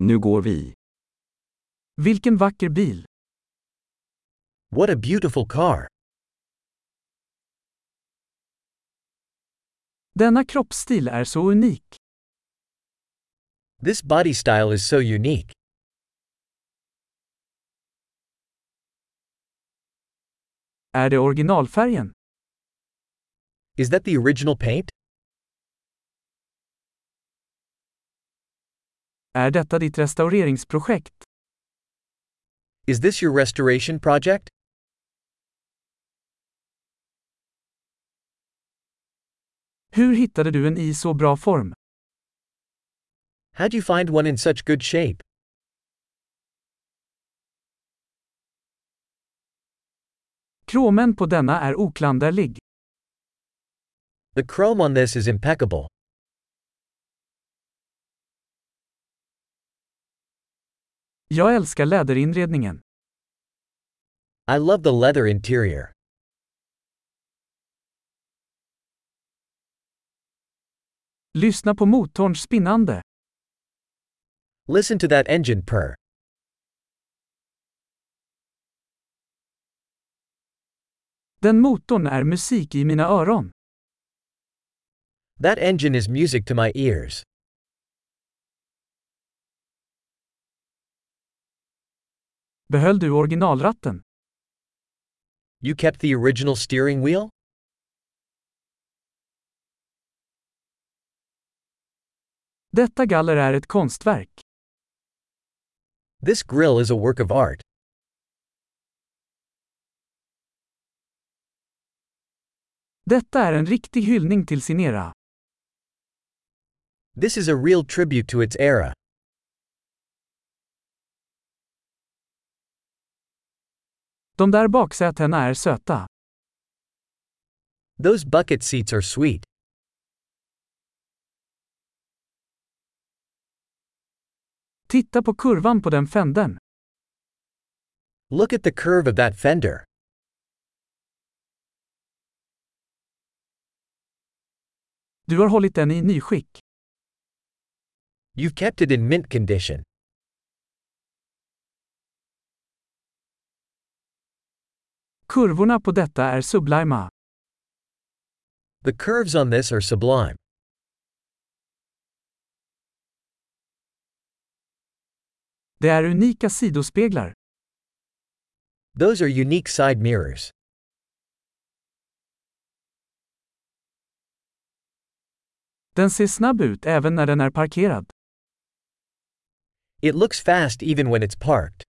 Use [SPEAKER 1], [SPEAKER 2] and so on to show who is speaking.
[SPEAKER 1] Nu går vi.
[SPEAKER 2] Vilken vacker bil!
[SPEAKER 3] What a beautiful car!
[SPEAKER 2] Denna kroppsstil är så unik.
[SPEAKER 3] This body style is so unique.
[SPEAKER 2] Är det originalfärgen?
[SPEAKER 3] Is that the original paint?
[SPEAKER 2] Är detta ditt restaureringsprojekt?
[SPEAKER 3] Is this your restoration project?
[SPEAKER 2] Hur hittade du en i så bra form?
[SPEAKER 3] How'd you find one in such good shape?
[SPEAKER 2] Kromen på denna är oklanderlig.
[SPEAKER 3] The chrome on this is impeccable.
[SPEAKER 2] Jag älskar läderinredningen.
[SPEAKER 3] I love the leather interior.
[SPEAKER 2] Lyssna på motorns spinnande.
[SPEAKER 3] Listen to that engine purr.
[SPEAKER 2] Den motorn är musik i mina öron.
[SPEAKER 3] That engine is music to my ears.
[SPEAKER 2] Behöll du originalratten?
[SPEAKER 3] You kept the original steering wheel?
[SPEAKER 2] Detta galler är ett konstverk.
[SPEAKER 3] This grill is a work of art.
[SPEAKER 2] Detta är en riktig hyllning till sin era.
[SPEAKER 3] This is a real tribute to its era.
[SPEAKER 2] De där baksätena är söta.
[SPEAKER 3] Those bucket seats are sweet.
[SPEAKER 2] Titta på kurvan på den fänden.
[SPEAKER 3] Look at the curve of that fender.
[SPEAKER 2] Du har hållit den i nyskick.
[SPEAKER 3] You've kept it in mint condition.
[SPEAKER 2] Kurvorna på detta är sublima.
[SPEAKER 3] The curves on this are sublime.
[SPEAKER 2] Det är unika sidospeglar.
[SPEAKER 3] Those are unique side mirrors.
[SPEAKER 2] Den ser snabb ut även när den är parkerad.
[SPEAKER 3] It looks fast even when it's parked.